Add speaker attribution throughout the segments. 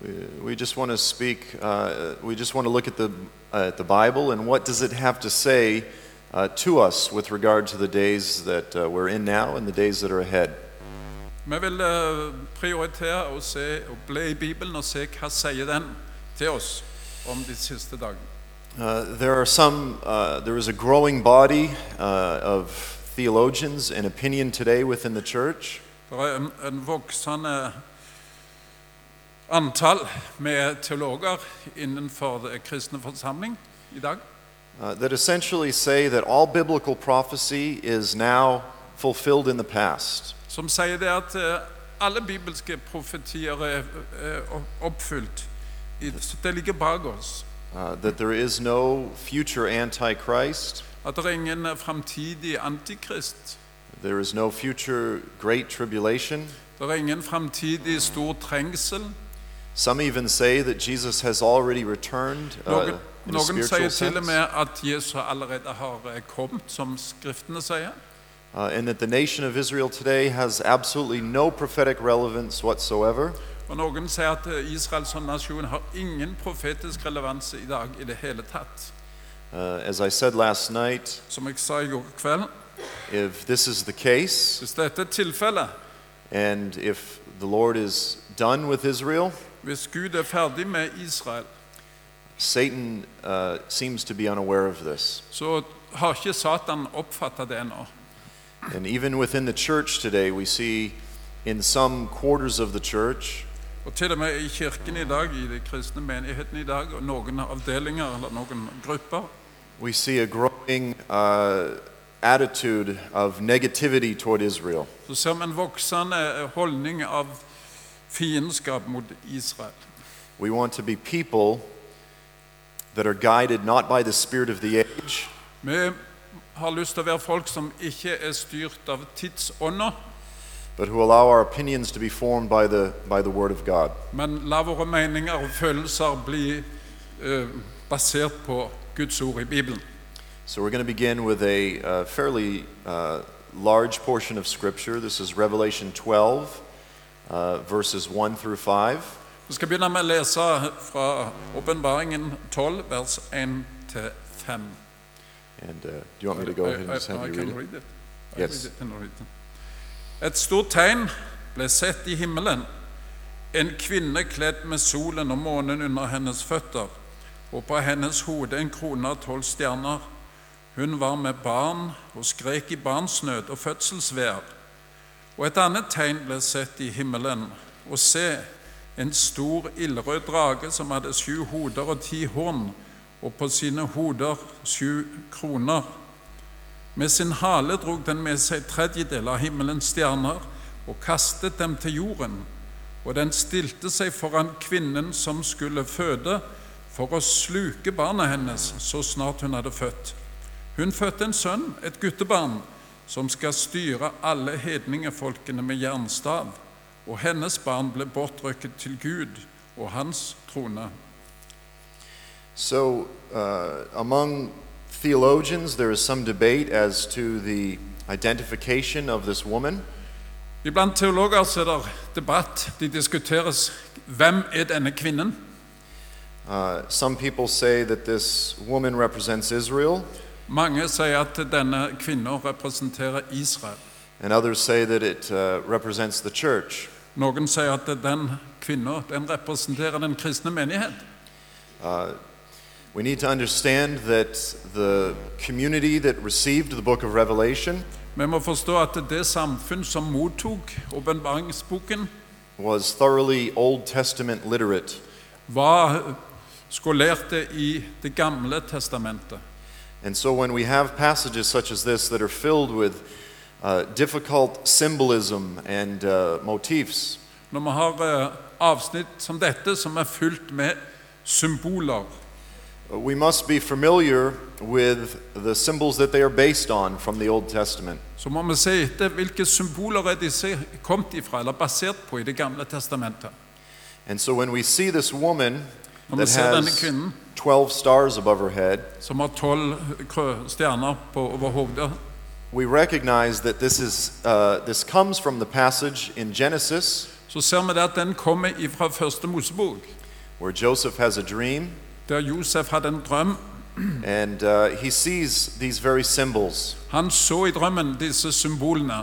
Speaker 1: We- We just want to speak, uh, we just want to look at the, uh, at the Bible and what does it have to say uh, to us with regard to the days that uh, we're in now and the days that are ahead.
Speaker 2: Vi vil eh, prioritere å, se, å bli i Bibelen og se hva sier den til oss om de siste dagene.
Speaker 1: Uh, There are some, uh, there is a growing body uh, of theologians and opinion today within the church.
Speaker 2: Det er en, en voksende antall med teologer innenfor den kristne forsamling i dag.
Speaker 1: uh, that essentially say that all biblical prophecy is now fulfilled in the past.
Speaker 2: som sier det at eh, alle bibelske profetier er eh, opp- oppfylt. I- så Det ligger bak oss.
Speaker 1: Uh, that there is no future antichrist,
Speaker 2: At det er ingen eh, framtidig antikrist.
Speaker 1: there is no future great tribulation.
Speaker 2: Det er ingen framtidig stor trengsel.
Speaker 1: Some even say that Jesus has already returned uh,
Speaker 2: Noen,
Speaker 1: in a
Speaker 2: noen
Speaker 1: spiritual
Speaker 2: sier til og
Speaker 1: sense,
Speaker 2: med at Jesus allerede har eh, kommet, som skriftene sier.
Speaker 1: uh, and that the nation of Israel today has absolutely no prophetic relevance whatsoever.
Speaker 2: Og noen sier at eh, Israel som nasjon har ingen profetisk relevanse i dag i det hele tatt.
Speaker 1: Uh, as I said last night,
Speaker 2: Som jeg sa i går kveld,
Speaker 1: if this is the case,
Speaker 2: hvis dette er tilfellet,
Speaker 1: and if the Lord is done with Israel,
Speaker 2: hvis Gud er ferdig med Israel,
Speaker 1: Satan uh, seems to be unaware of this.
Speaker 2: så har ikke Satan oppfatta det ennå.
Speaker 1: And even within the church today, we see in some quarters of the church
Speaker 2: Og til og med i kirken i dag, i de kristne menighetene i dag, og noen avdelinger eller noen grupper,
Speaker 1: we see a growing uh, attitude of negativity toward Israel.
Speaker 2: så ser vi en voksende eh, holdning av fiendskap mot Israel.
Speaker 1: We want to be people that are guided not by the spirit of the age,
Speaker 2: Vi har lyst til å være folk som ikke er styrt av tidsånder,
Speaker 1: but who allow our opinions to be formed by the, by the Word of God.
Speaker 2: men la våre meninger og følelser bli eh, basert på Guds ord i Bibelen.
Speaker 1: So we're going to begin with a uh, fairly uh, large portion of Scripture. This is Revelation 12, uh, verses 1 through 5.
Speaker 2: Vi skal begynne med å lese fra Åpenbaringen 12, vers 1-5.
Speaker 1: And uh, do you want me to go ahead and just have you read it? Yes.
Speaker 2: Et stort tegn ble sett i himmelen. En kvinne kledd med solen og månen under hennes føtter, og på hennes hode en krone av tolv stjerner. Hun var med barn og skrek i barnsnød og fødselsvær. Og et annet tegn ble sett i himmelen, og se, en stor ildrød drage som hadde sju hoder og ti horn, og på sine hoder sju kroner. Med sin hale drog den med seg tredjedel av himmelens stjerner og kastet dem til jorden. Og den stilte seg foran kvinnen som skulle føde, for å sluke barnet hennes så snart hun hadde født. Hun fødte en sønn, et guttebarn, som skal styre alle hedningefolkene med jernstav. Og hennes barn ble bortrykket til Gud og hans trone.
Speaker 1: So, uh, among theologians, there is some debate as to the identification of this woman.
Speaker 2: Iblant teologer så er det debatt. De diskuteres hvem er denne kvinnen?
Speaker 1: Uh, some people say that this woman represents Israel,
Speaker 2: Mange sier at denne kvinnen representerer Israel.
Speaker 1: and others say that it uh, represents the church.
Speaker 2: Noen sier at den kvinnen den representerer den kristne menighet.
Speaker 1: We need to understand that the community that received the book of Revelation
Speaker 2: Vi må forstå at det samfunn som mottok åpenbaringsboken,
Speaker 1: was thoroughly Old Testament literate,
Speaker 2: var skolerte i Det gamle testamentet.
Speaker 1: and so when we have passages such as this that are filled with uh, difficult symbolism and uh, motifs,
Speaker 2: Når vi har eh, avsnitt som dette, som er fylt med symboler,
Speaker 1: we must be familiar with the symbols that they are based on from the Old Testament.
Speaker 2: så må vi se etter hvilke symboler er disse kommet ifra, eller basert på, i Det gamle testamentet.
Speaker 1: And so when we see this woman
Speaker 2: Om
Speaker 1: that
Speaker 2: vi ser denne
Speaker 1: has
Speaker 2: kvinnen
Speaker 1: 12 stars above her head,
Speaker 2: som har tolv stjerner på over hodet,
Speaker 1: we recognize that this, is, uh, this comes from the passage in Genesis
Speaker 2: så ser vi det at den kommer fra første Mosebok,
Speaker 1: where Joseph has a dream
Speaker 2: der Josef hadde en drøm.
Speaker 1: and uh, he sees these very symbols,
Speaker 2: Han så i drømmen disse symbolene,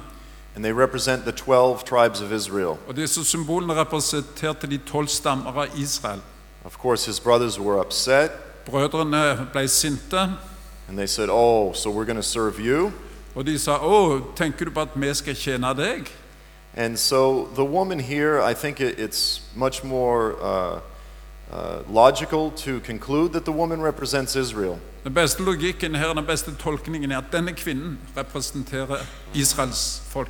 Speaker 1: and they represent the 12 tribes of Israel.
Speaker 2: og disse symbolene representerte de tolv stammer av Israel.
Speaker 1: Of course, his brothers were upset,
Speaker 2: Brødrene ble sinte,
Speaker 1: and they said, Oh, so we're going to serve you?
Speaker 2: og de sa 'Å, tenker du på at vi skal tjene deg?'
Speaker 1: And so the woman here, I think it, it's much more uh, uh, logical to conclude that the woman represents Israel.
Speaker 2: Den beste logikken her, den beste tolkningen, er at denne kvinnen representerer Israels folk.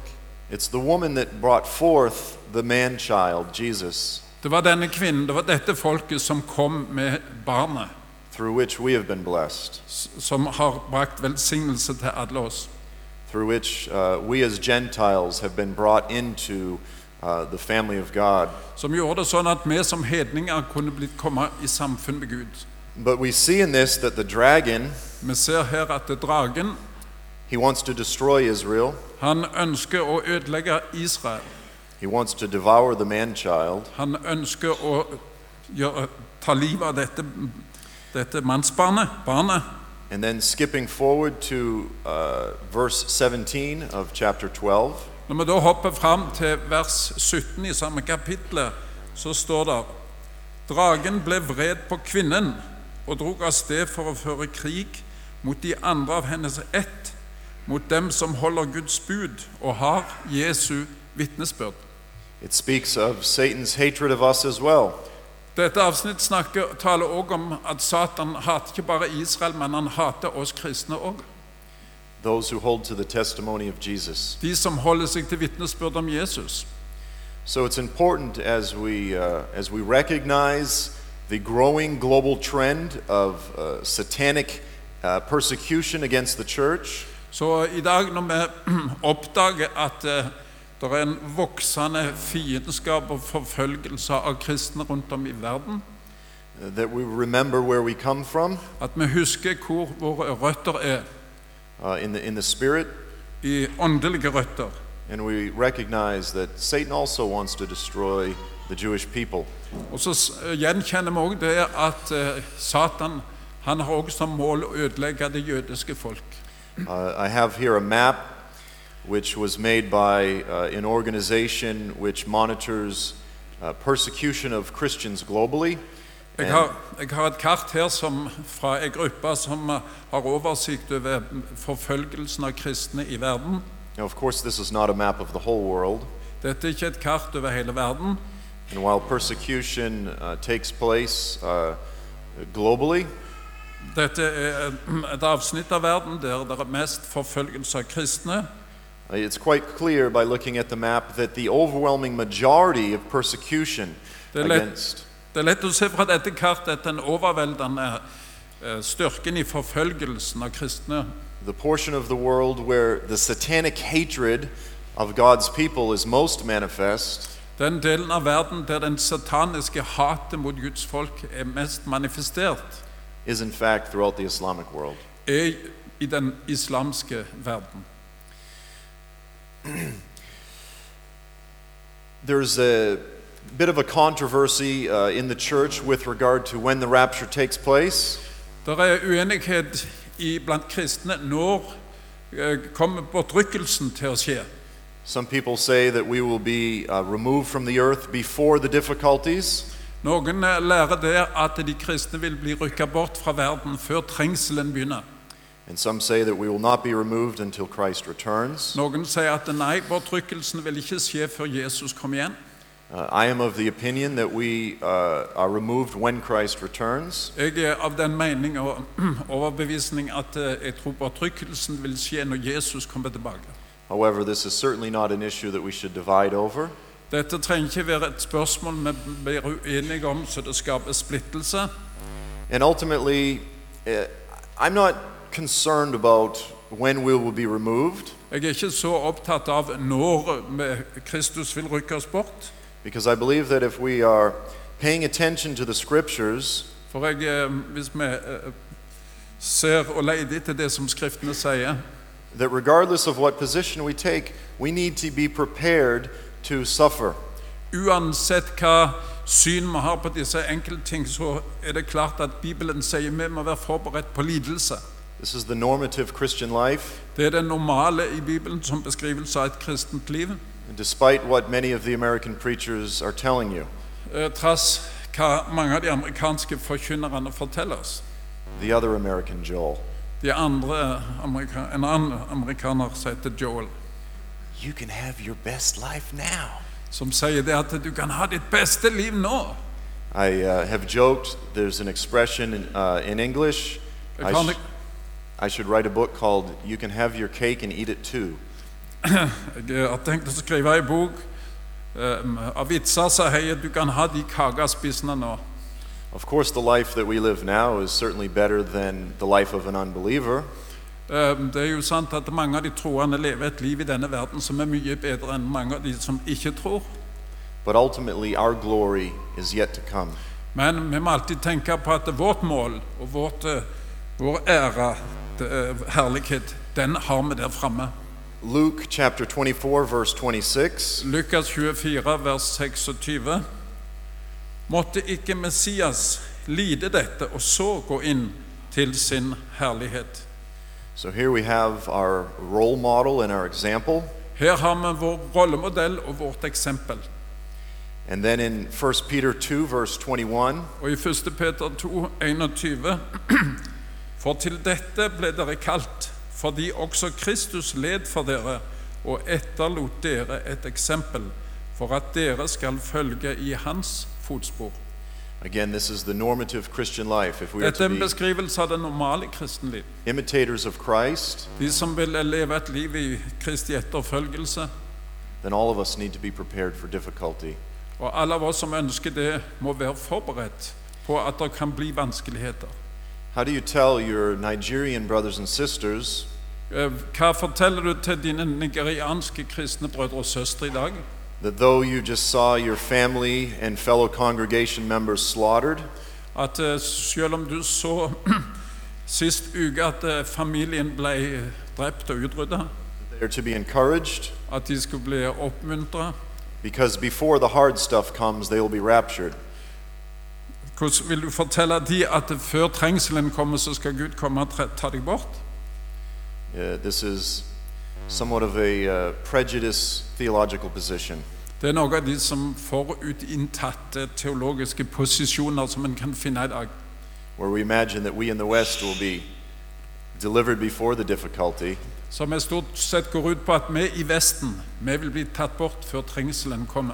Speaker 1: It's the woman that brought forth the man child, Jesus,
Speaker 2: Det var denne kvinnen, det var dette folket som kom med barnet,
Speaker 1: through which we have been blessed,
Speaker 2: s- som har brakt velsignelse til alle oss.
Speaker 1: through which uh, we as Gentiles have been brought into uh, the family of God.
Speaker 2: Som gjorde det sånn at vi som hedninger kunne blitt komme i samfunn med Gud.
Speaker 1: But we see in this that the dragon,
Speaker 2: Vi ser her at dragen
Speaker 1: he wants to destroy Israel,
Speaker 2: han ønsker å ødelegge Israel.
Speaker 1: he wants to devour the man child,
Speaker 2: Han ønsker å gjøre, ta livet av dette, dette mannsbarnet, barnet.
Speaker 1: And then skipping forward to uh, verse 17 of chapter 12,
Speaker 2: Når vi da hopper fram til vers 17 i samme kapittel, så står det Dragen ble vred på kvinnen og drog av sted for å føre krig mot de andre av hennes ett, mot dem som holder Guds bud og har Jesu vitnesbyrd.
Speaker 1: it speaks of Satan's hatred of us as well.
Speaker 2: Dette avsnitt snakker, taler òg om at Satan hater ikke bare Israel, men han hater oss kristne òg.
Speaker 1: Those who hold to the testimony of Jesus.
Speaker 2: De som holder seg til vitnesbyrd om Jesus.
Speaker 1: So it's important as we, uh, as we recognize the growing global trend of uh, satanic uh, persecution against the church,
Speaker 2: Så i dag når vi oppdager at eh, det er en voksende fiendskap og forfølgelse av kristne rundt om i verden,
Speaker 1: uh, that we remember where we come from
Speaker 2: at vi husker hvor våre røtter er,
Speaker 1: uh, in, the, in the spirit,
Speaker 2: i åndelige røtter,
Speaker 1: and we recognize that Satan also wants to destroy the Jewish people.
Speaker 2: og så s- eh, gjenkjenner vi òg det at eh, Satan han har også som mål å ødelegge det jødiske folk.
Speaker 1: Uh, I have here a map which was made by uh, an organization which monitors uh, persecution of Christians globally.
Speaker 2: Jeg har, jeg har et kart her som, fra ei gruppe som eh, har oversikt over forfølgelsen av kristne i verden.
Speaker 1: Now, of course, this is not a map of the whole world,
Speaker 2: Dette er ikke et kart over hele verden.
Speaker 1: and while persecution uh, takes place uh, globally,
Speaker 2: Dette er et avsnitt av verden der det er mest forfølgelse av kristne.
Speaker 1: uh, it's quite clear by looking at the map that the overwhelming majority of persecution
Speaker 2: The le-
Speaker 1: against
Speaker 2: Det er lett å se fra dette kartet at den overveldende eh, styrken i forfølgelsen av kristne
Speaker 1: the portion of the world where the satanic hatred of God's people is most manifest.
Speaker 2: Den delen av verden der den sataniske hatet mot Guds folk er mest manifestert,
Speaker 1: is in fact throughout the Islamic world.
Speaker 2: er i den islamske verden.
Speaker 1: There's a bit of a controversy uh, in the church with regard to when the rapture takes place.
Speaker 2: Det er uenighet i, blant kristne når eh, kommer bortrykkelsen til å skje.
Speaker 1: Some people say that we will be uh, removed from the earth before the difficulties.
Speaker 2: Noen eh, lærer det at de kristne vil bli rykka bort fra verden før trengselen begynner.
Speaker 1: And some say that we will not be removed until Christ returns.
Speaker 2: Noen sier at nei, bortrykkelsen vil ikke skje før Jesus kommer igjen.
Speaker 1: Uh, I am of the opinion that we uh, are removed when Christ returns.
Speaker 2: Jeg er av den mening og overbevisning at eh, jeg tror bortrykkelsen vil skje når Jesus kommer tilbake.
Speaker 1: However, this is certainly not an issue that we should divide over.
Speaker 2: Dette trenger ikke være et spørsmål vi blir uenige om så det skaper splittelse.
Speaker 1: And ultimately, uh, I'm not concerned about when we will be removed.
Speaker 2: Jeg er ikke så opptatt av når vi- Kristus vil rykke oss bort,
Speaker 1: Because I believe that if we are paying attention to the scriptures,
Speaker 2: for jeg, eh, hvis vi eh, ser og leter etter det som Skriftene sier,
Speaker 1: that regardless of what position we take, we need to be prepared to suffer.
Speaker 2: Uansett hva syn vi har på disse enkeltting, så er det klart at Bibelen sier vi må være forberedt på lidelse.
Speaker 1: This is the normative Christian life.
Speaker 2: Det er det normale i Bibelen som beskrivelse av et kristent liv.
Speaker 1: Despite what many of the American preachers are telling you,
Speaker 2: Eh, trass hva mange av de amerikanske forkynnerne forteller oss.
Speaker 1: the other American Joel,
Speaker 2: De andre eh, amerika en annen amerikaner som heter Joel,
Speaker 1: you can have your best life now.
Speaker 2: som sier det at du kan ha ditt beste liv nå.
Speaker 1: I uh, have joked, there's an expression in, uh, in English.
Speaker 2: Jeg
Speaker 1: I,
Speaker 2: kan,
Speaker 1: sh- I should write a book called You Can Have Your Cake and Eat It Too.
Speaker 2: jeg har tenkt å skrive en bok eh, av vitser som sier du kan ha de kakespissene nå.
Speaker 1: Of course, the life that we live now is certainly better than the life of an unbeliever,
Speaker 2: Eh, Det er jo sant at mange av de troende lever et liv i denne verden som er mye bedre enn mange av de som ikke tror.
Speaker 1: but ultimately, our glory is yet to come.
Speaker 2: Men vi må alltid tenke på at vårt mål og vårt, eh, vår ære, det er herlighet, den har vi der framme.
Speaker 1: Luke chapter 24, verse 26.
Speaker 2: Lukas 24, vers 26. Måtte ikke Messias lide dette og så gå inn til sin herlighet.
Speaker 1: So here we have our role model and our example.
Speaker 2: Her har vi vår rollemodell og vårt eksempel.
Speaker 1: And then in 1 Peter 2, verse 21,
Speaker 2: Og i 1. Peter 2, 21 For til dette ble dere kalt, fordi også Kristus led for dere og etterlot dere et eksempel, for at dere skal følge i hans fotspor.
Speaker 1: again, this is the normative Christian life. If we are
Speaker 2: Dette
Speaker 1: to
Speaker 2: er en
Speaker 1: be
Speaker 2: beskrivelse av det normale kristenliv.
Speaker 1: imitators of Christ,
Speaker 2: De som vil leve et liv i Kristi etterfølgelse,
Speaker 1: then all of us need to be prepared for difficulty.
Speaker 2: og alle av oss som ønsker det, må være forberedt på at det kan bli vanskeligheter.
Speaker 1: How do you tell your Nigerian brothers and sisters
Speaker 2: Eh, Hva forteller du til dine nigerianske kristne brødre og søstre i dag?
Speaker 1: that though you just saw your family and fellow congregation members slaughtered,
Speaker 2: At eh, selv om du så sist uke at eh, familien ble drept og utrydda,
Speaker 1: they're to be encouraged
Speaker 2: at de skulle bli oppmuntra
Speaker 1: because before the hard stuff comes, they will be raptured.
Speaker 2: Hvordan vil du fortelle de at før trengselen kommer, så skal Gud komme og tre- ta deg bort?
Speaker 1: Uh, this is somewhat of a uh, prejudice theological position.
Speaker 2: Det er noe av de som forutinntatte teologiske posisjoner som en kan finne i dag.
Speaker 1: where we imagine that we in the West will be delivered before the difficulty,
Speaker 2: Som jeg stort sett går ut på at vi i Vesten vi vil bli tatt bort før trengselen kommer.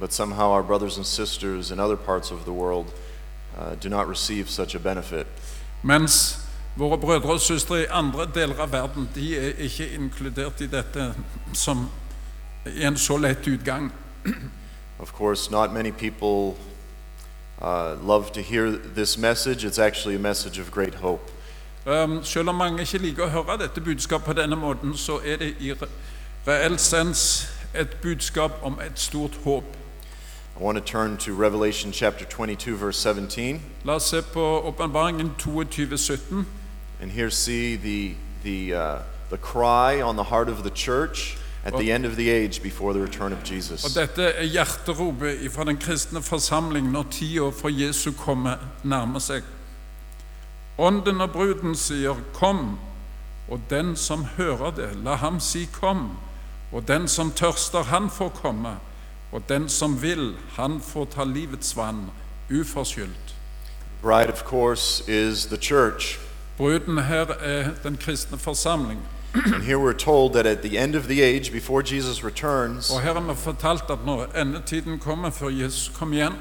Speaker 1: but somehow our brothers and sisters in other parts of the world uh, do not receive such a benefit.
Speaker 2: Mens våre brødre og søstre i andre deler av verden de er ikke inkludert i dette som i en så lett utgang.
Speaker 1: Of course, not many people uh, love to hear this message. It's actually a message of great hope.
Speaker 2: Um, selv om mange ikke liker å høre dette budskapet på denne måten, så er det i re- reell sens et budskap om et stort håp.
Speaker 1: I want to turn to Revelation chapter 22, verse 17,
Speaker 2: La oss se på åpenbaringen 22.17.
Speaker 1: and here see the, the, uh, the cry on the heart of the church at the end of the age before the return of Jesus.
Speaker 2: Og dette er hjerteropet fra den kristne forsamling når tida for Jesu komme nærmer seg. Ånden og bruden sier 'kom', og den som hører det, la ham si 'kom'. Og den som tørster, han får komme. Og den som vil, han får ta livets vann, uforskyldt.
Speaker 1: Bride, of course, is the church.
Speaker 2: Bruden her er den kristne forsamling.
Speaker 1: And here we're told that at the end of the age, before Jesus returns,
Speaker 2: Og her er vi fortalt at når endetiden kommer før Jesus kommer igjen,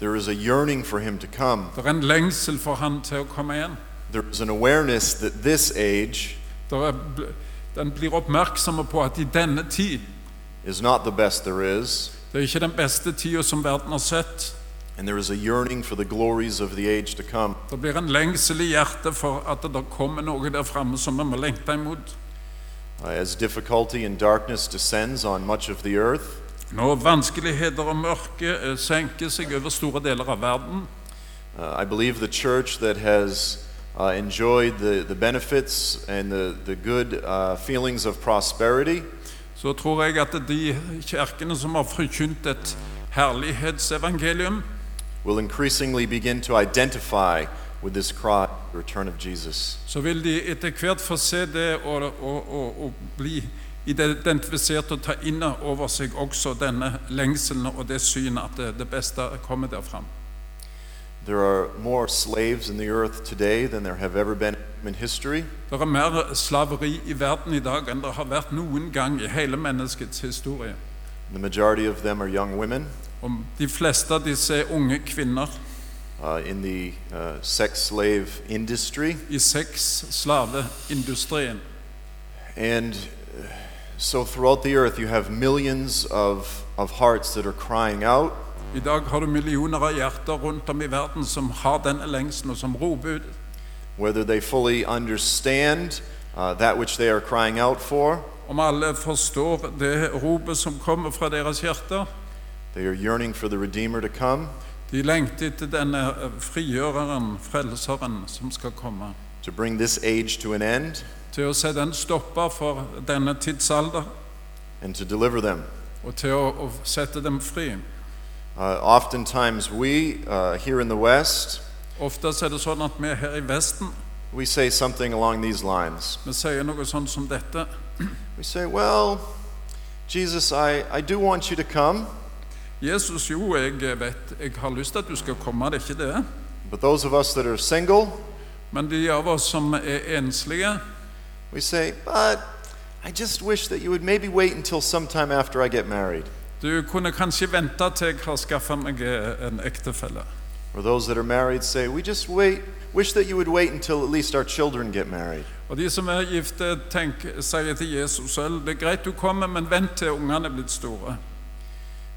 Speaker 1: there is a yearning for him to come.
Speaker 2: det er en lengsel for han til å komme igjen.
Speaker 1: There is an awareness that this age
Speaker 2: Der er, bl- den blir oppmerksomme på at i denne tid
Speaker 1: is not the best there is,
Speaker 2: Det er ikke den beste tida som verden har sett.
Speaker 1: and there is a yearning for the glories of the age to come.
Speaker 2: Det blir en lengsel i hjertet for at det kommer noe der framme som vi må lengte imot.
Speaker 1: Uh, as difficulty and darkness descends on much of the earth,
Speaker 2: Når vanskeligheter og mørke eh, senker seg over store deler av verden,
Speaker 1: uh, I believe the church that has uh, enjoyed the, the benefits and the, the good uh, feelings of prosperity
Speaker 2: så tror jeg at de kirkene som har forkynt et herlighetsevangelium,
Speaker 1: will increasingly begin to identify with this cry, the return of Jesus.
Speaker 2: så vil de etter hvert få se det og, og, og, og bli identifisert og ta inn over seg også denne lengselen og det synet at det, det beste kommer der fram.
Speaker 1: There are more slaves in the earth today than there have ever been in history,
Speaker 2: Det er mer slaveri i verden i dag enn det har vært noen gang i hele menneskets historie.
Speaker 1: the majority of them are young women.
Speaker 2: Og de fleste av disse er unge kvinner
Speaker 1: Uh, in the uh, sex slave industry.
Speaker 2: i sex-slaveindustrien.
Speaker 1: And uh, so, throughout the earth, you have millions of, of hearts that are crying out,
Speaker 2: I dag har du millioner av hjerter rundt om i verden som har denne lengselen, og som roper ut.
Speaker 1: whether they fully understand uh, that which they are crying out for.
Speaker 2: Om alle forstår det ropet som kommer fra deres hjerter.
Speaker 1: They are yearning for the Redeemer to come,
Speaker 2: De lengter etter denne eh, frigjøreren, frelseren, som skal komme.
Speaker 1: to bring this age to an end,
Speaker 2: Til å se den stoppe for denne tidsalder,
Speaker 1: and to deliver them.
Speaker 2: og til å, å sette dem fri.
Speaker 1: Uh, oftentimes, we uh, here in the West,
Speaker 2: Ofte så er det sånn at vi her i Vesten
Speaker 1: we say something along these lines.
Speaker 2: vi sier noe sånn som dette.
Speaker 1: We say, Well, Jesus, I, I do want you to come,
Speaker 2: Jesus, jo, jeg vet jeg har lyst til at du skal komme, det er ikke det.
Speaker 1: but those of us that are single,
Speaker 2: Men de av oss som er enslige,
Speaker 1: We say, but I just wish that you would maybe wait until sometime after I get married.
Speaker 2: Du kunne kanskje vente til jeg har skaffa meg eh, en ektefelle.
Speaker 1: Or those that are married say, we just wait, wish that you would wait until at least our children get married.
Speaker 2: Og de som er gifte, tenk, sier til Jesus selv det er greit du kommer, men vent til ungene er blitt store.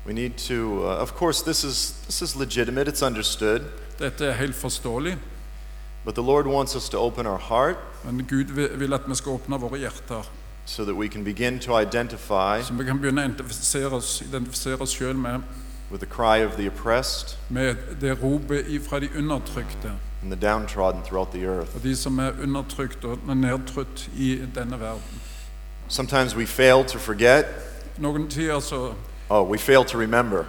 Speaker 1: We need to, uh, of course, this is, this is legitimate, it's understood,
Speaker 2: Dette er helt forståelig,
Speaker 1: but the Lord wants us to open our heart
Speaker 2: men Gud vil vil at vi skal åpne våre hjerter,
Speaker 1: so that we can begin to identify
Speaker 2: så vi kan begynne å identifisere oss, identifisere oss sjøl med,
Speaker 1: with the cry of the oppressed
Speaker 2: med det ropet ifra de undertrykte,
Speaker 1: and the downtrodden throughout the earth.
Speaker 2: og de som er undertrykt og nedtrykt i denne verden.
Speaker 1: Sometimes we fail to forget,
Speaker 2: Noen tider så,
Speaker 1: oh, we fail to remember.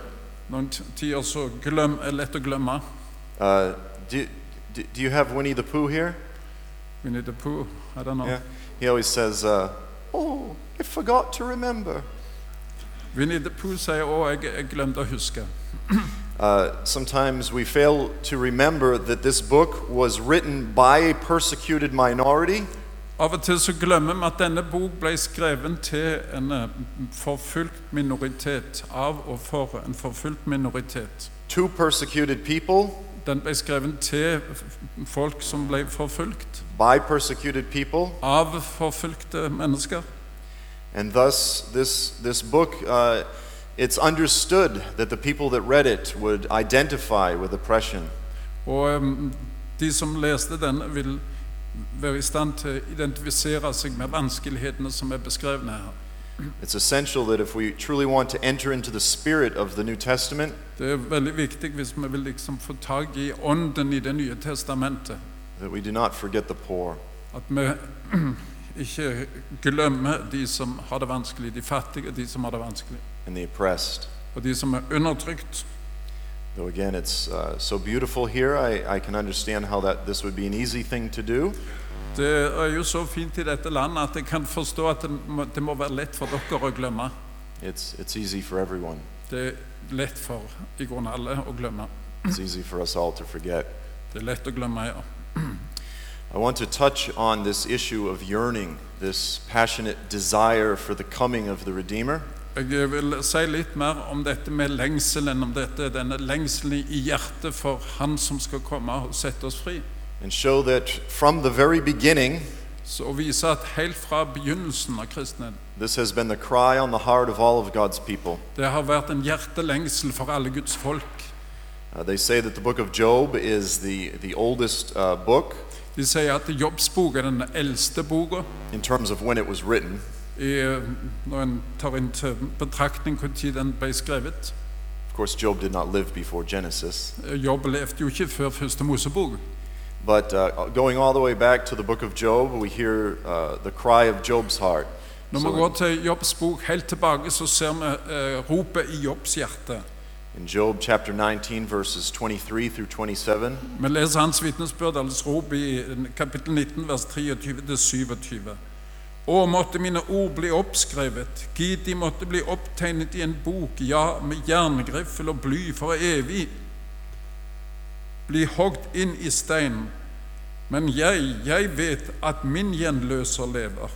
Speaker 2: noen tider så glem, er lett å glemme.
Speaker 1: Uh, do, do, do you have Winnie the Pooh here?
Speaker 2: We need a poo, I don't know.
Speaker 1: Yeah. He always says, uh, Oh, I forgot to remember.
Speaker 2: Winnie the Pooh sier òg 'jeg, jeg glemte å huske'.
Speaker 1: Uh, sometimes we fail to remember that this book was written by a persecuted minority
Speaker 2: Av og til så glemmer vi at denne bok ble skrevet til en eh, forfulgt minoritet. Av og for en forfulgt minoritet.
Speaker 1: to persecuted people,
Speaker 2: Den ble skrevet til f- folk som ble forfulgt.
Speaker 1: by persecuted people,
Speaker 2: Av forfulgte mennesker.
Speaker 1: and thus this, this book, uh, it's understood that the people that read it would identify with oppression.
Speaker 2: Og eh, de som leste den, vil være i stand til å identifisere seg med vanskelighetene som er beskrevne her.
Speaker 1: It's essential that if we truly want to enter into the spirit of the New Testament,
Speaker 2: Det er veldig viktig hvis vi vil liksom få tak i ånden i Det nye testamentet.
Speaker 1: that we do not forget the poor.
Speaker 2: At vi ikke glemmer de som har det vanskelig, de fattige, de som har det vanskelig,
Speaker 1: and the oppressed.
Speaker 2: og de som er undertrykt.
Speaker 1: Though again, it's uh, so beautiful here, I, I can understand how that this would be an easy thing to do.
Speaker 2: Det er jo så fint i dette landet at jeg kan forstå at det må, det må være lett for dere å glemme.
Speaker 1: It's, it's easy for everyone.
Speaker 2: Det er lett for i grunnen alle å glemme.
Speaker 1: It's easy for us all to forget.
Speaker 2: Det er lett å glemme, ja.
Speaker 1: I want to touch on this issue of yearning, this passionate desire for the coming of the Redeemer.
Speaker 2: Jeg vil si litt mer om dette med lengselen, om dette, denne lengselen i hjertet for Han som skal komme og sette oss fri.
Speaker 1: And show that from the very beginning,
Speaker 2: Så å vise at helt fra begynnelsen av kristenheten
Speaker 1: this has been the cry on the heart of all of God's people.
Speaker 2: Det har vært en hjertelengsel for alle Guds folk.
Speaker 1: Uh, they say that the book of Job is the, the oldest uh, book
Speaker 2: De sier at Jobbs bok er den eldste boka.
Speaker 1: in terms of when it was written.
Speaker 2: I, eh, når en tar inn til betraktning hvor tid den ble skrevet.
Speaker 1: Of course, Job did not live before Genesis.
Speaker 2: Eh, Jobb levde jo ikke før første Mosebok.
Speaker 1: But uh, going all the way back to the book of Job, we hear uh, the cry of Job's heart.
Speaker 2: Når vi
Speaker 1: So
Speaker 2: går til Jobbs bok helt tilbake, så ser vi eh, ropet i Jobbs hjerte.
Speaker 1: In Job chapter 19, verses 23 through 27,
Speaker 2: Vi leser hans vitnesbyrd, altså rop, i kapittel 19, vers 23-27. Å, måtte mine ord bli oppskrevet, gid de måtte bli opptegnet i en bok, ja, med jerngriffel og bly for evig. Bli hogd inn i stein, men jeg, jeg vet at min gjenløser lever.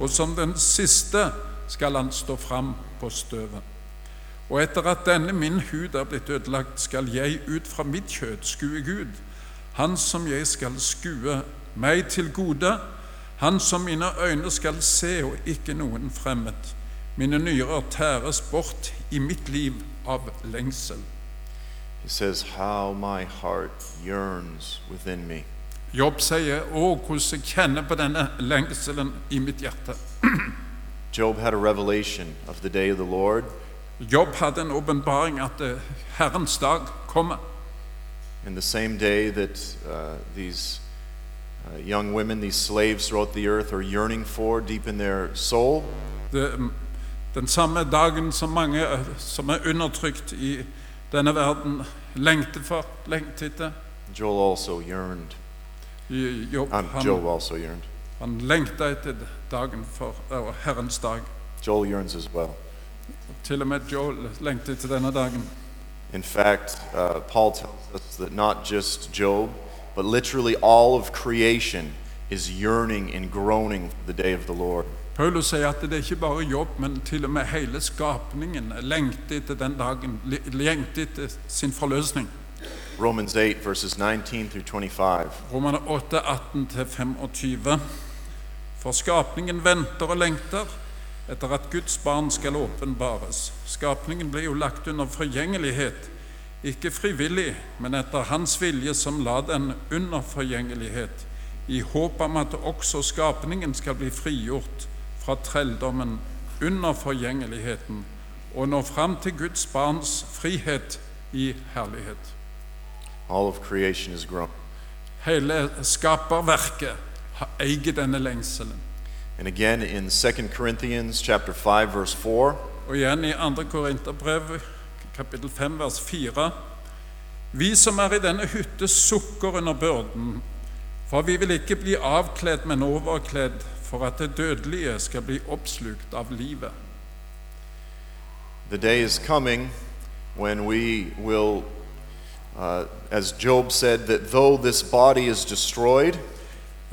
Speaker 2: Og som den siste skal han stå fram på støvet. Og etter at denne min hud er blitt ødelagt, skal jeg ut fra mitt kjøtt skue Gud, han som jeg skal skue meg til gode, han som mine øyne skal se og ikke noen fremmed. Mine nyrer tæres bort i mitt liv av lengsel.
Speaker 1: he says, How my heart yearns within me.
Speaker 2: Jobb sier, å, hvordan jeg kjenner på denne lengselen i mitt hjerte.
Speaker 1: Job had a revelation of the day of the Lord,
Speaker 2: Jobb hadde en åpenbaring at eh, Herrens dag kommer.
Speaker 1: and the same day that uh, these uh, young women, these slaves throughout the earth, are yearning for deep in their soul,
Speaker 2: det, mm, den samme dagen som mange eh, som er undertrykt i denne verden, lengter for, lengter etter.
Speaker 1: Joel also yearned.
Speaker 2: I Jobb,
Speaker 1: Um, Job
Speaker 2: han,
Speaker 1: also yearned.
Speaker 2: han lengta etter dagen for eh, Herrens dag.
Speaker 1: Joel yearns as well.
Speaker 2: Til og med Joel lengter etter denne dagen.
Speaker 1: In fact, uh, Paul tells us that not just Job, but literally all of creation is yearning and groaning for the day of the Lord.
Speaker 2: Paulus sier at det er ikke bare jobb, men til og med hele skapningen lengter etter den dagen, le- lengter etter sin forløsning.
Speaker 1: Romans 8, verses 19 through 25.
Speaker 2: Romane 8, 18-25. For skapningen venter og lengter etter at Guds barn skal åpenbares. Skapningen ble jo lagt under forgjengelighet, ikke frivillig, men etter Hans vilje som la den under forgjengelighet, i håp om at også skapningen skal bli frigjort fra trelldommen under forgjengeligheten og nå fram til Guds barns frihet i herlighet.
Speaker 1: All of creation is groaning.
Speaker 2: Hele skaperverket ha- eier denne lengselen.
Speaker 1: And again in 2 Corinthians chapter 5 verse 4,
Speaker 2: Og igjen i 2. Korinterbrev, kapittel 5, vers 4. Vi som er i denne hytte, sukker under byrden, for vi vil ikke bli avkledd, men overkledd, for at det dødelige skal bli oppslukt av livet.
Speaker 1: the day is coming when we will uh, as Job said that though this body is destroyed,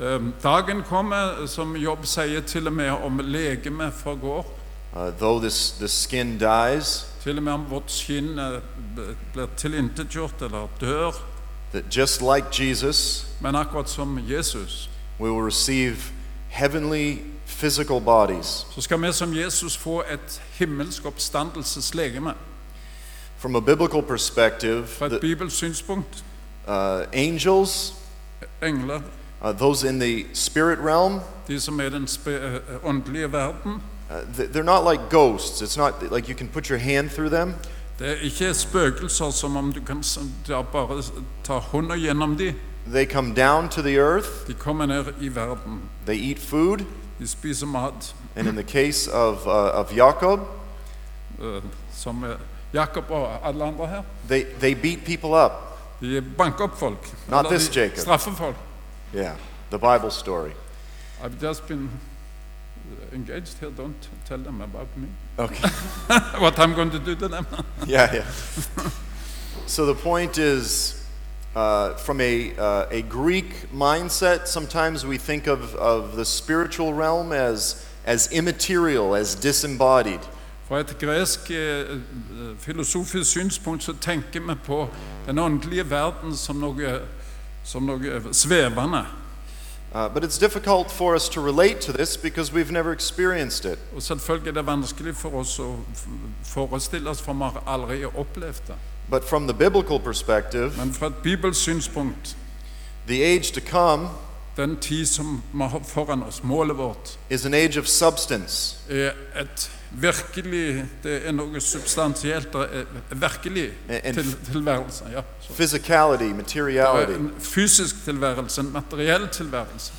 Speaker 2: Ehm, Dagen kommer, som Jobb sier til og med om legemet forgår,
Speaker 1: uh, though this, this skin dies,
Speaker 2: til og med om vårt skinn eh, b- blir tilintetgjort eller dør,
Speaker 1: that just like Jesus,
Speaker 2: men akkurat som Jesus
Speaker 1: we will receive heavenly physical bodies
Speaker 2: så skal vi som Jesus få et himmelsk oppstandelseslegeme.
Speaker 1: from a biblical perspective
Speaker 2: Fra et
Speaker 1: the,
Speaker 2: bibelsk synspunkt,
Speaker 1: uh, angels
Speaker 2: engler,
Speaker 1: uh, those in the spirit realm
Speaker 2: de som er i den spe eh, åndelige verden,
Speaker 1: uh, th- they're not like ghosts it's not like you can put your hand through them
Speaker 2: det er ikke spøkelser som om du kan s- ja, bare s- ta hånda gjennom de.
Speaker 1: They come down to the earth,
Speaker 2: De kommer ned i verden.
Speaker 1: they eat food,
Speaker 2: De spiser mat,
Speaker 1: and in the case of, uh, of Jacob,
Speaker 2: eh, som eh, Jakob og alle andre her.
Speaker 1: they, they beat people up.
Speaker 2: De banker opp folk.
Speaker 1: Not
Speaker 2: eller
Speaker 1: this,
Speaker 2: de
Speaker 1: Jacob.
Speaker 2: straffer folk.
Speaker 1: Yeah, the Bible story.
Speaker 2: I've just been engaged here, don't tell them about me.
Speaker 1: Okay.
Speaker 2: What I'm going to do to them.
Speaker 1: yeah, yeah. So the point is uh, from a, uh, a Greek mindset, sometimes we think of, of the spiritual realm as, as immaterial, as disembodied.
Speaker 2: Fra et gresk eh, eh, filosofisk synspunkt så tenker vi på den åndelige verden som noe, eh, som noe eh, svevende.
Speaker 1: Uh, but it's difficult for us to relate to this because we've never experienced it.
Speaker 2: Og selvfølgelig er det vanskelig for oss å f- forestille oss, for vi har aldri opplevd det.
Speaker 1: But from the biblical perspective,
Speaker 2: Men fra et bibelsk synspunkt,
Speaker 1: the age to come
Speaker 2: den tid som vi har foran oss, målet vårt,
Speaker 1: is an age of substance.
Speaker 2: er et virkelig Det er noe substansielt, det er virkelig
Speaker 1: En- en
Speaker 2: til,
Speaker 1: f-
Speaker 2: tilværelse. Ja, så.
Speaker 1: Physicality,
Speaker 2: Det er
Speaker 1: materiality.
Speaker 2: En fysisk tilværelse, en materiell tilværelse.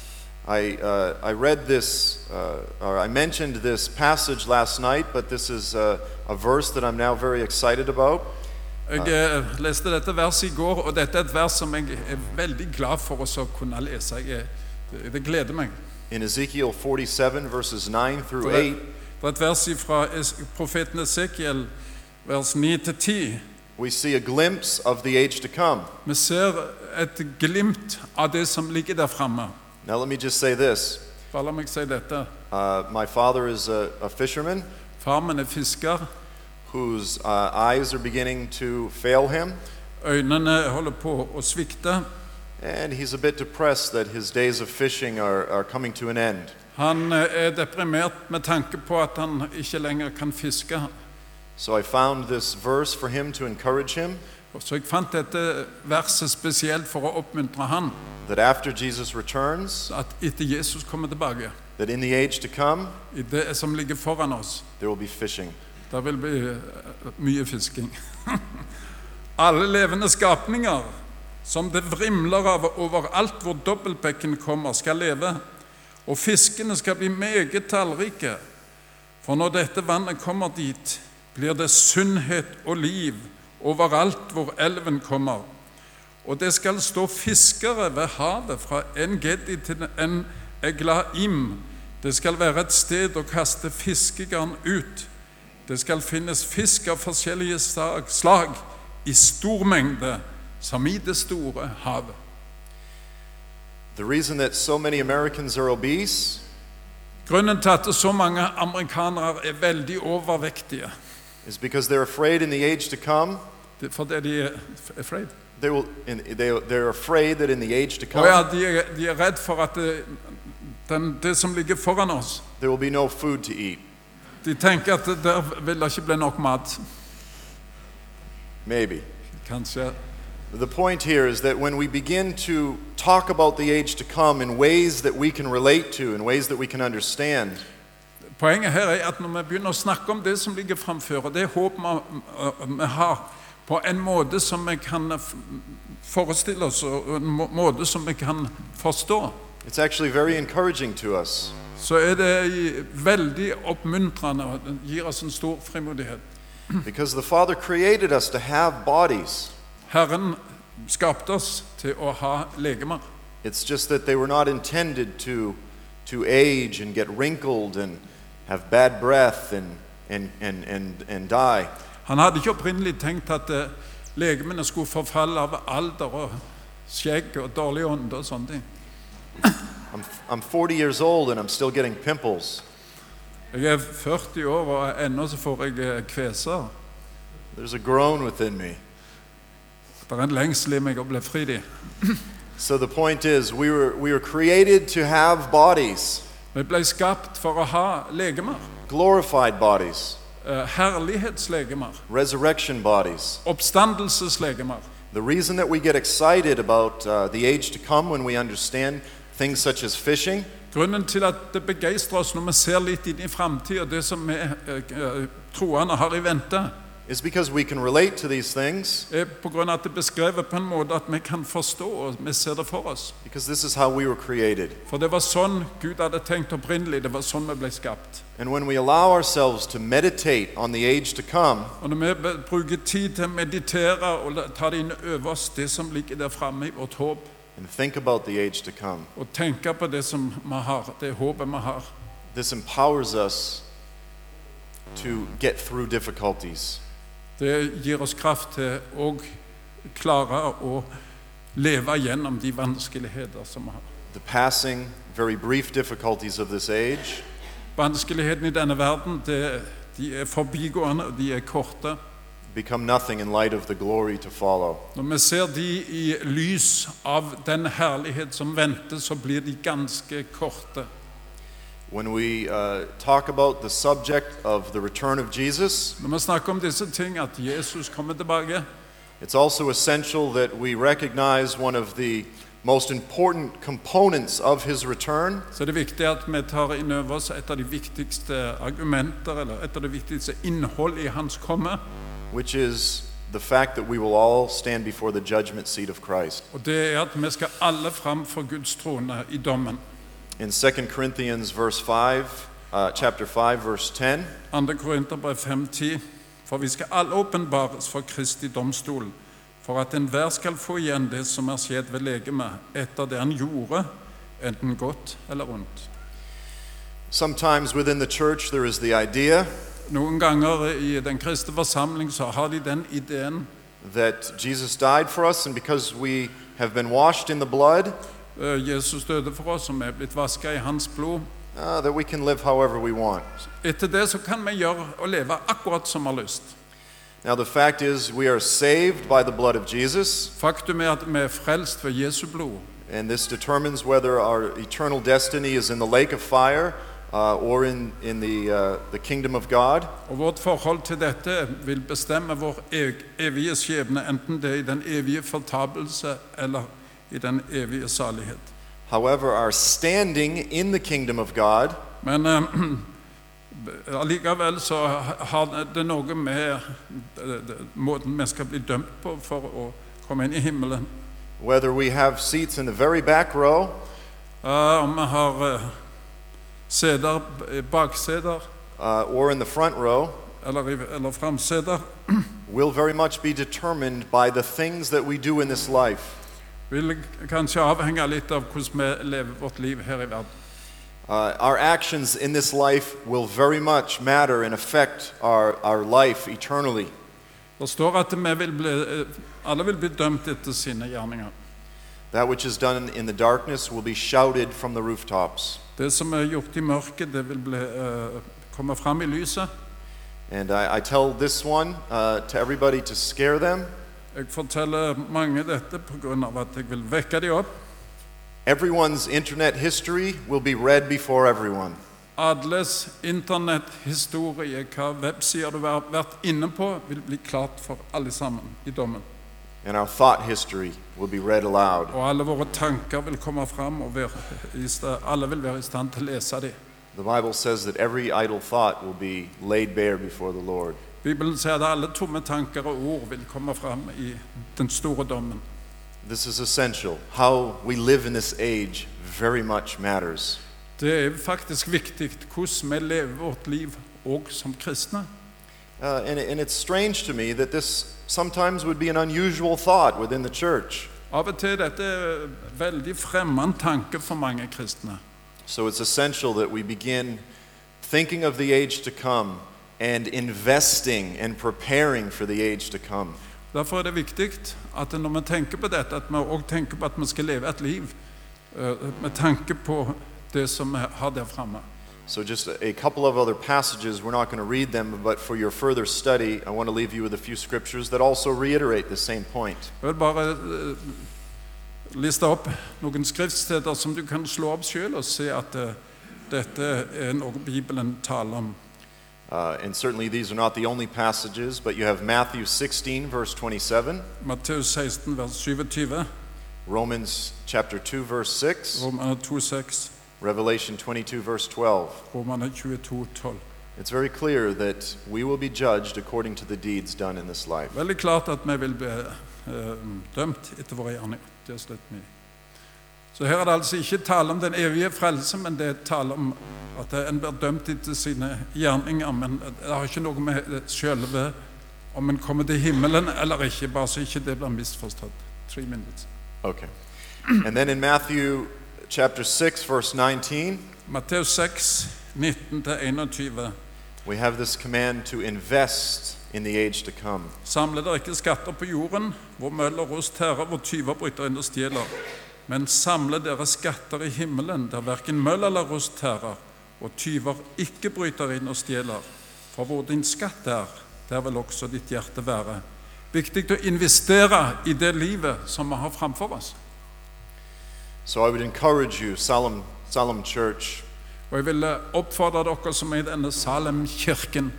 Speaker 1: I, uh, I read this, uh, or I mentioned this passage last night, but this is a, a verse that I'm now very excited about.
Speaker 2: Jeg eh, leste dette verset i går, og dette er et vers som jeg er veldig glad for også å kunne lese. Jeg, er- det, det gleder meg.
Speaker 1: In Ezekiel 47, verses 9 through
Speaker 2: For Det
Speaker 1: 8,
Speaker 2: for et vers fra Es- profeten Esekiel, vers 9-10.
Speaker 1: we see a glimpse of the age to come.
Speaker 2: Vi ser et glimt av det som ligger der framme.
Speaker 1: Now, let me just say this
Speaker 2: Bare la meg si dette.
Speaker 1: uh, my father is a, a fisherman
Speaker 2: Far min er fisker.
Speaker 1: whose uh, eyes are beginning to fail him,
Speaker 2: Øynene holder på å svikte.
Speaker 1: and he's a bit depressed that his days of fishing are, are coming to an end.
Speaker 2: Han eh, er deprimert med tanke på at han ikke lenger kan fiske.
Speaker 1: So I found this verse for him to encourage him
Speaker 2: Og Så jeg fant dette verset spesielt for å oppmuntre han,
Speaker 1: that after Jesus returns,
Speaker 2: at etter Jesus kommer tilbake,
Speaker 1: that in the age to come,
Speaker 2: i det som ligger foran oss,
Speaker 1: there will be fishing.
Speaker 2: der vil bli eh, mye fisking. Alle levende skapninger, som det vrimler av overalt hvor dobbeltbekken kommer, skal leve, og fiskene skal bli meget tallrike. For når dette vannet kommer dit, blir det sunnhet og liv overalt hvor elven kommer. Og det skal stå fiskere ved havet fra en Gedi til en Eglaim. Det skal være et sted å kaste fiskegarn ut. Det skal finnes fisk av forskjellige slag, slag i stor mengde, som i det store havet.
Speaker 1: The reason that so many Americans are obese
Speaker 2: Grunnen til at så mange amerikanere er veldig overvektige,
Speaker 1: is because they're afraid in the age to come,
Speaker 2: det er fordi de er f- afraid.
Speaker 1: they will, in, they, they're afraid that in the age to
Speaker 2: Og
Speaker 1: come,
Speaker 2: ja, de er, de er redd for at det, den, det som ligger foran oss
Speaker 1: there will be no food to eat.
Speaker 2: De tenker at det der vil det ikke bli nok mat.
Speaker 1: Maybe.
Speaker 2: Kanskje.
Speaker 1: The point here is that when we begin to talk about the age to come in ways that we can relate to, in ways that we can understand,
Speaker 2: Poenget her er at når vi begynner å snakke om det som ligger framfor, og det håp vi eh, vi har, på en måte som vi kan f- forestille oss, og en må- måte som vi kan forstå,
Speaker 1: it's actually very encouraging to us.
Speaker 2: så er det i- veldig oppmuntrende og det gir oss en stor frimodighet.
Speaker 1: Because the Father created us to have bodies.
Speaker 2: Herren skapte oss til å ha legemer.
Speaker 1: It's just that they were not intended to, to age and get wrinkled and have bad breath and, and, and, and, and die.
Speaker 2: Han hadde ikke opprinnelig tenkt at eh, legemene skulle forfalle av alder og skjegg og dårlig ånde og sånne ting.
Speaker 1: I'm, I'm 40 years old and I'm still getting pimples.
Speaker 2: Jeg er 40 år, og ennå så får jeg eh, kveser.
Speaker 1: There's a groan within me.
Speaker 2: Det er en lengsel i meg å bli fridig.
Speaker 1: So the point is, we were, we were created to have bodies,
Speaker 2: Vi ble skapt for å ha legemer.
Speaker 1: glorified bodies,
Speaker 2: eh, Herlighetslegemer.
Speaker 1: resurrection bodies.
Speaker 2: Oppstandelseslegemer.
Speaker 1: The reason that we get excited about uh, the age to come when we understand things such as fishing
Speaker 2: Grunnen til at det begeistrer oss når vi ser litt inn i framtida, det som vi eh, eh, troende har i vente,
Speaker 1: is because we can relate to these things
Speaker 2: er på grunn av at det er beskrevet på en måte at vi kan forstå, og vi ser det for oss.
Speaker 1: Because this is how we were created.
Speaker 2: For det var sånn Gud hadde tenkt opprinnelig. Det var sånn vi ble skapt.
Speaker 1: And when we allow ourselves to meditate on the age to come,
Speaker 2: Og når vi be- bruker tid til å meditere og la- ta det inn over oss, det som ligger der framme i vårt håp,
Speaker 1: and think about the age to come,
Speaker 2: og tenke på det som vi har, det håpet vi har,
Speaker 1: this empowers us to get through difficulties.
Speaker 2: det gir oss kraft til å klare å leve gjennom de vanskeligheter som vi har.
Speaker 1: The passing, very brief difficulties of this age,
Speaker 2: Vanskelighetene i denne verden, det, de er forbigående, og de er korte.
Speaker 1: become nothing in light of the glory to follow.
Speaker 2: Når vi ser de i lys av den herlighet som venter, så blir de ganske korte.
Speaker 1: When we uh, talk about the subject of the return of Jesus,
Speaker 2: Når vi snakker om disse ting, at Jesus kommer tilbake,
Speaker 1: it's also essential that we recognize one of the most important components of his return,
Speaker 2: så er det viktig at vi tar inn over oss et av de viktigste argumenter, eller et av de viktigste innhold i hans komme,
Speaker 1: which is the fact that we will all stand before the judgment seat of Christ.
Speaker 2: og det er at vi skal alle fram for Guds trone i dommen.
Speaker 1: In 2 Corinthians verse 5, uh, chapter 5, verse 10,
Speaker 2: 2. Korinterbrev 5,10. For vi skal alle åpenbares for Kristi domstol, for at enhver skal få igjen det som er skjedd ved legemet, etter det han gjorde, enten godt eller ondt.
Speaker 1: sometimes within the church there is the idea
Speaker 2: Noen ganger i den kristne forsamling så har de den ideen
Speaker 1: that Jesus died for us, and because we have been washed in the blood,
Speaker 2: eh, Jesus døde for oss, som er blitt vaska i hans blod.
Speaker 1: uh, that we can live however we want.
Speaker 2: Etter det så kan vi gjøre og leve akkurat som vi har lyst.
Speaker 1: Now, the fact is, we are saved by the blood of Jesus,
Speaker 2: Faktum er at vi er frelst ved Jesu blod.
Speaker 1: and this determines whether our eternal destiny is in the lake of fire uh, or in, in the, uh, the kingdom of God.
Speaker 2: Og vårt forhold til dette vil bestemme vår ev- evige skjebne, enten det er i den evige fortapelse eller i den evige salighet.
Speaker 1: However, our standing in the kingdom of God
Speaker 2: Men eh, allikevel så har det noe med eh, måten vi skal bli dømt på for å komme inn i himmelen.
Speaker 1: whether we have seats in the very back row
Speaker 2: Eh, Om vi har eh, seter, eh, bakseter
Speaker 1: uh, or in the front row
Speaker 2: eller, i- eller framseter,
Speaker 1: will very much be determined by the things that we do in this life.
Speaker 2: vil kanskje avhenge litt av hvordan vi lever vårt liv her i verden.
Speaker 1: Uh, our actions in this life will very much matter and affect our, our life eternally.
Speaker 2: Det står at vi vil bli, eh, alle vil bli dømt etter sine gjerninger.
Speaker 1: That which is done in the darkness will be shouted from the rooftops.
Speaker 2: Det som er gjort i mørket, det vil bli, eh, komme fram i lyset.
Speaker 1: And I, I tell this one uh, to everybody to scare them.
Speaker 2: Jeg forteller mange dette pga. at jeg vil vekke dem opp.
Speaker 1: Everyone's internet history will be read before everyone.
Speaker 2: Alles internetthistorie, hva websider du har vært inne på, vil bli klart for alle sammen i dommen.
Speaker 1: and our thought history will be read aloud.
Speaker 2: Og alle våre tanker vil komme fram, og være i sta- alle vil være i stand til å lese dem.
Speaker 1: The Bible says that every idle thought will be laid bare before the Lord.
Speaker 2: Bibelen sier at alle tomme tanker og ord vil komme fram i den store dommen.
Speaker 1: This is essential. How we live in this age very much matters.
Speaker 2: Det er faktisk viktig hvordan vi lever vårt liv òg som kristne.
Speaker 1: Uh, and, and it's strange to me that this sometimes would be an unusual thought within the church.
Speaker 2: Av og til er dette en veldig fremmed tanke for mange kristne.
Speaker 1: So it's essential that we begin thinking of the age to come and investing and preparing for the age to come.
Speaker 2: Derfor er det viktig at når vi tenker på dette, at vi òg tenker på at vi skal leve et liv eh, med tanke på det som vi har der framme.
Speaker 1: So, just a a couple of other passages. We're not going to read them, but for your further study, I want to leave you with a few scriptures that also reiterate the same point.
Speaker 2: Jeg vil bare eh, liste opp noen skriftsteder som du kan slå opp sjøl og se at eh, dette er noe Bibelen taler om.
Speaker 1: Uh, and certainly these are not the only passages, but you have Matthew 16, verse 27,
Speaker 2: Matteus 16, vers 27,
Speaker 1: Romans chapter 2, verse 6,
Speaker 2: Romane 2,6.
Speaker 1: Revelation 22, verse 12.
Speaker 2: Romerne 22, 12.
Speaker 1: It's very clear that we will be judged according to the deeds done in this life.
Speaker 2: Veldig klart at vi vil bli eh, dømt etter våre gjerninger. Det er slutt med. Så her er det altså ikke tale om den evige frelse, men det er tale om at en blir dømt etter sine gjerninger. Men det har ikke noe med eh, selve om en kommer til himmelen eller ikke, bare så ikke det blir misforstått. Tre minutter.
Speaker 1: Okay. And then in Matthew chapter 6, verse 19,
Speaker 2: Matteus 6, 19-21.
Speaker 1: we have this command to invest in the age to come.
Speaker 2: Samle dere ikke skatter på jorden, hvor møll og rust tærer, hvor tyver bryter inn og stjeler. Men samle dere skatter i himmelen, der verken møll eller rust tærer, og tyver ikke bryter inn og stjeler. For hvor din skatt er, der vil også ditt hjerte være. Viktig å investere i det livet som vi har framfor oss.
Speaker 1: So I would encourage you, Solemn, Solemn Church,
Speaker 2: Og jeg vil eh, oppfordre dere som er i denne Salem-kirken,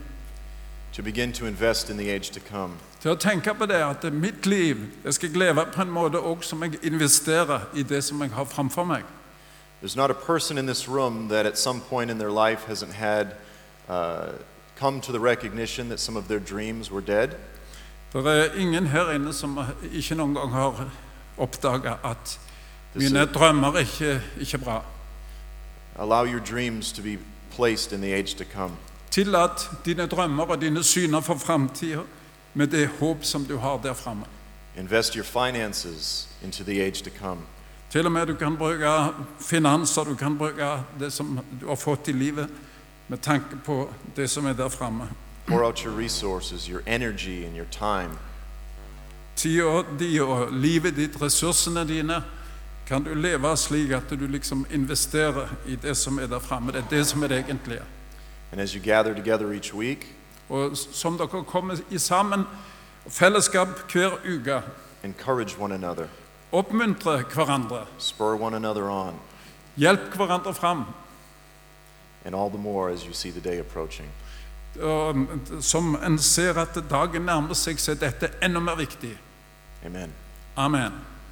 Speaker 1: to begin to invest in the age to come.
Speaker 2: til å tenke på det at eh, mitt liv jeg skal leve på en måte òg som jeg investerer i det som jeg har framfor meg.
Speaker 1: There's not a person in this room that at some point in their life hasn't had uh, come to the recognition that some of their dreams were dead.
Speaker 2: Det er eh, ingen her inne som eh, ikke noen gang har oppdaga at
Speaker 1: This
Speaker 2: mine
Speaker 1: is,
Speaker 2: drømmer er ikke, ikke bra.
Speaker 1: Allow your dreams to be placed in the age to come.
Speaker 2: Tillat dine drømmer og dine syner for framtida med det håp som du har der framme.
Speaker 1: Invest your finances into the age to come.
Speaker 2: Til og med du kan bruke finanser, du kan bruke det som du har fått i livet, med tanke på det som er der framme.
Speaker 1: Pour out your resources, your energy, and your time.
Speaker 2: Tida di og livet ditt, ressursene dine, kan du leve slik at du liksom investerer i det som er der framme. Det er det som er det egentlige.
Speaker 1: And as you gather together each week
Speaker 2: Og som dere kommer i sammen, fellesskap hver uke,
Speaker 1: encourage one another,
Speaker 2: oppmuntre hverandre,
Speaker 1: spur one another on,
Speaker 2: hjelp hverandre fram.
Speaker 1: and all the more as you see the day approaching.
Speaker 2: Og mm, som en ser at dagen nærmer seg, så er dette enda mer viktig.
Speaker 1: Amen.
Speaker 2: Amen.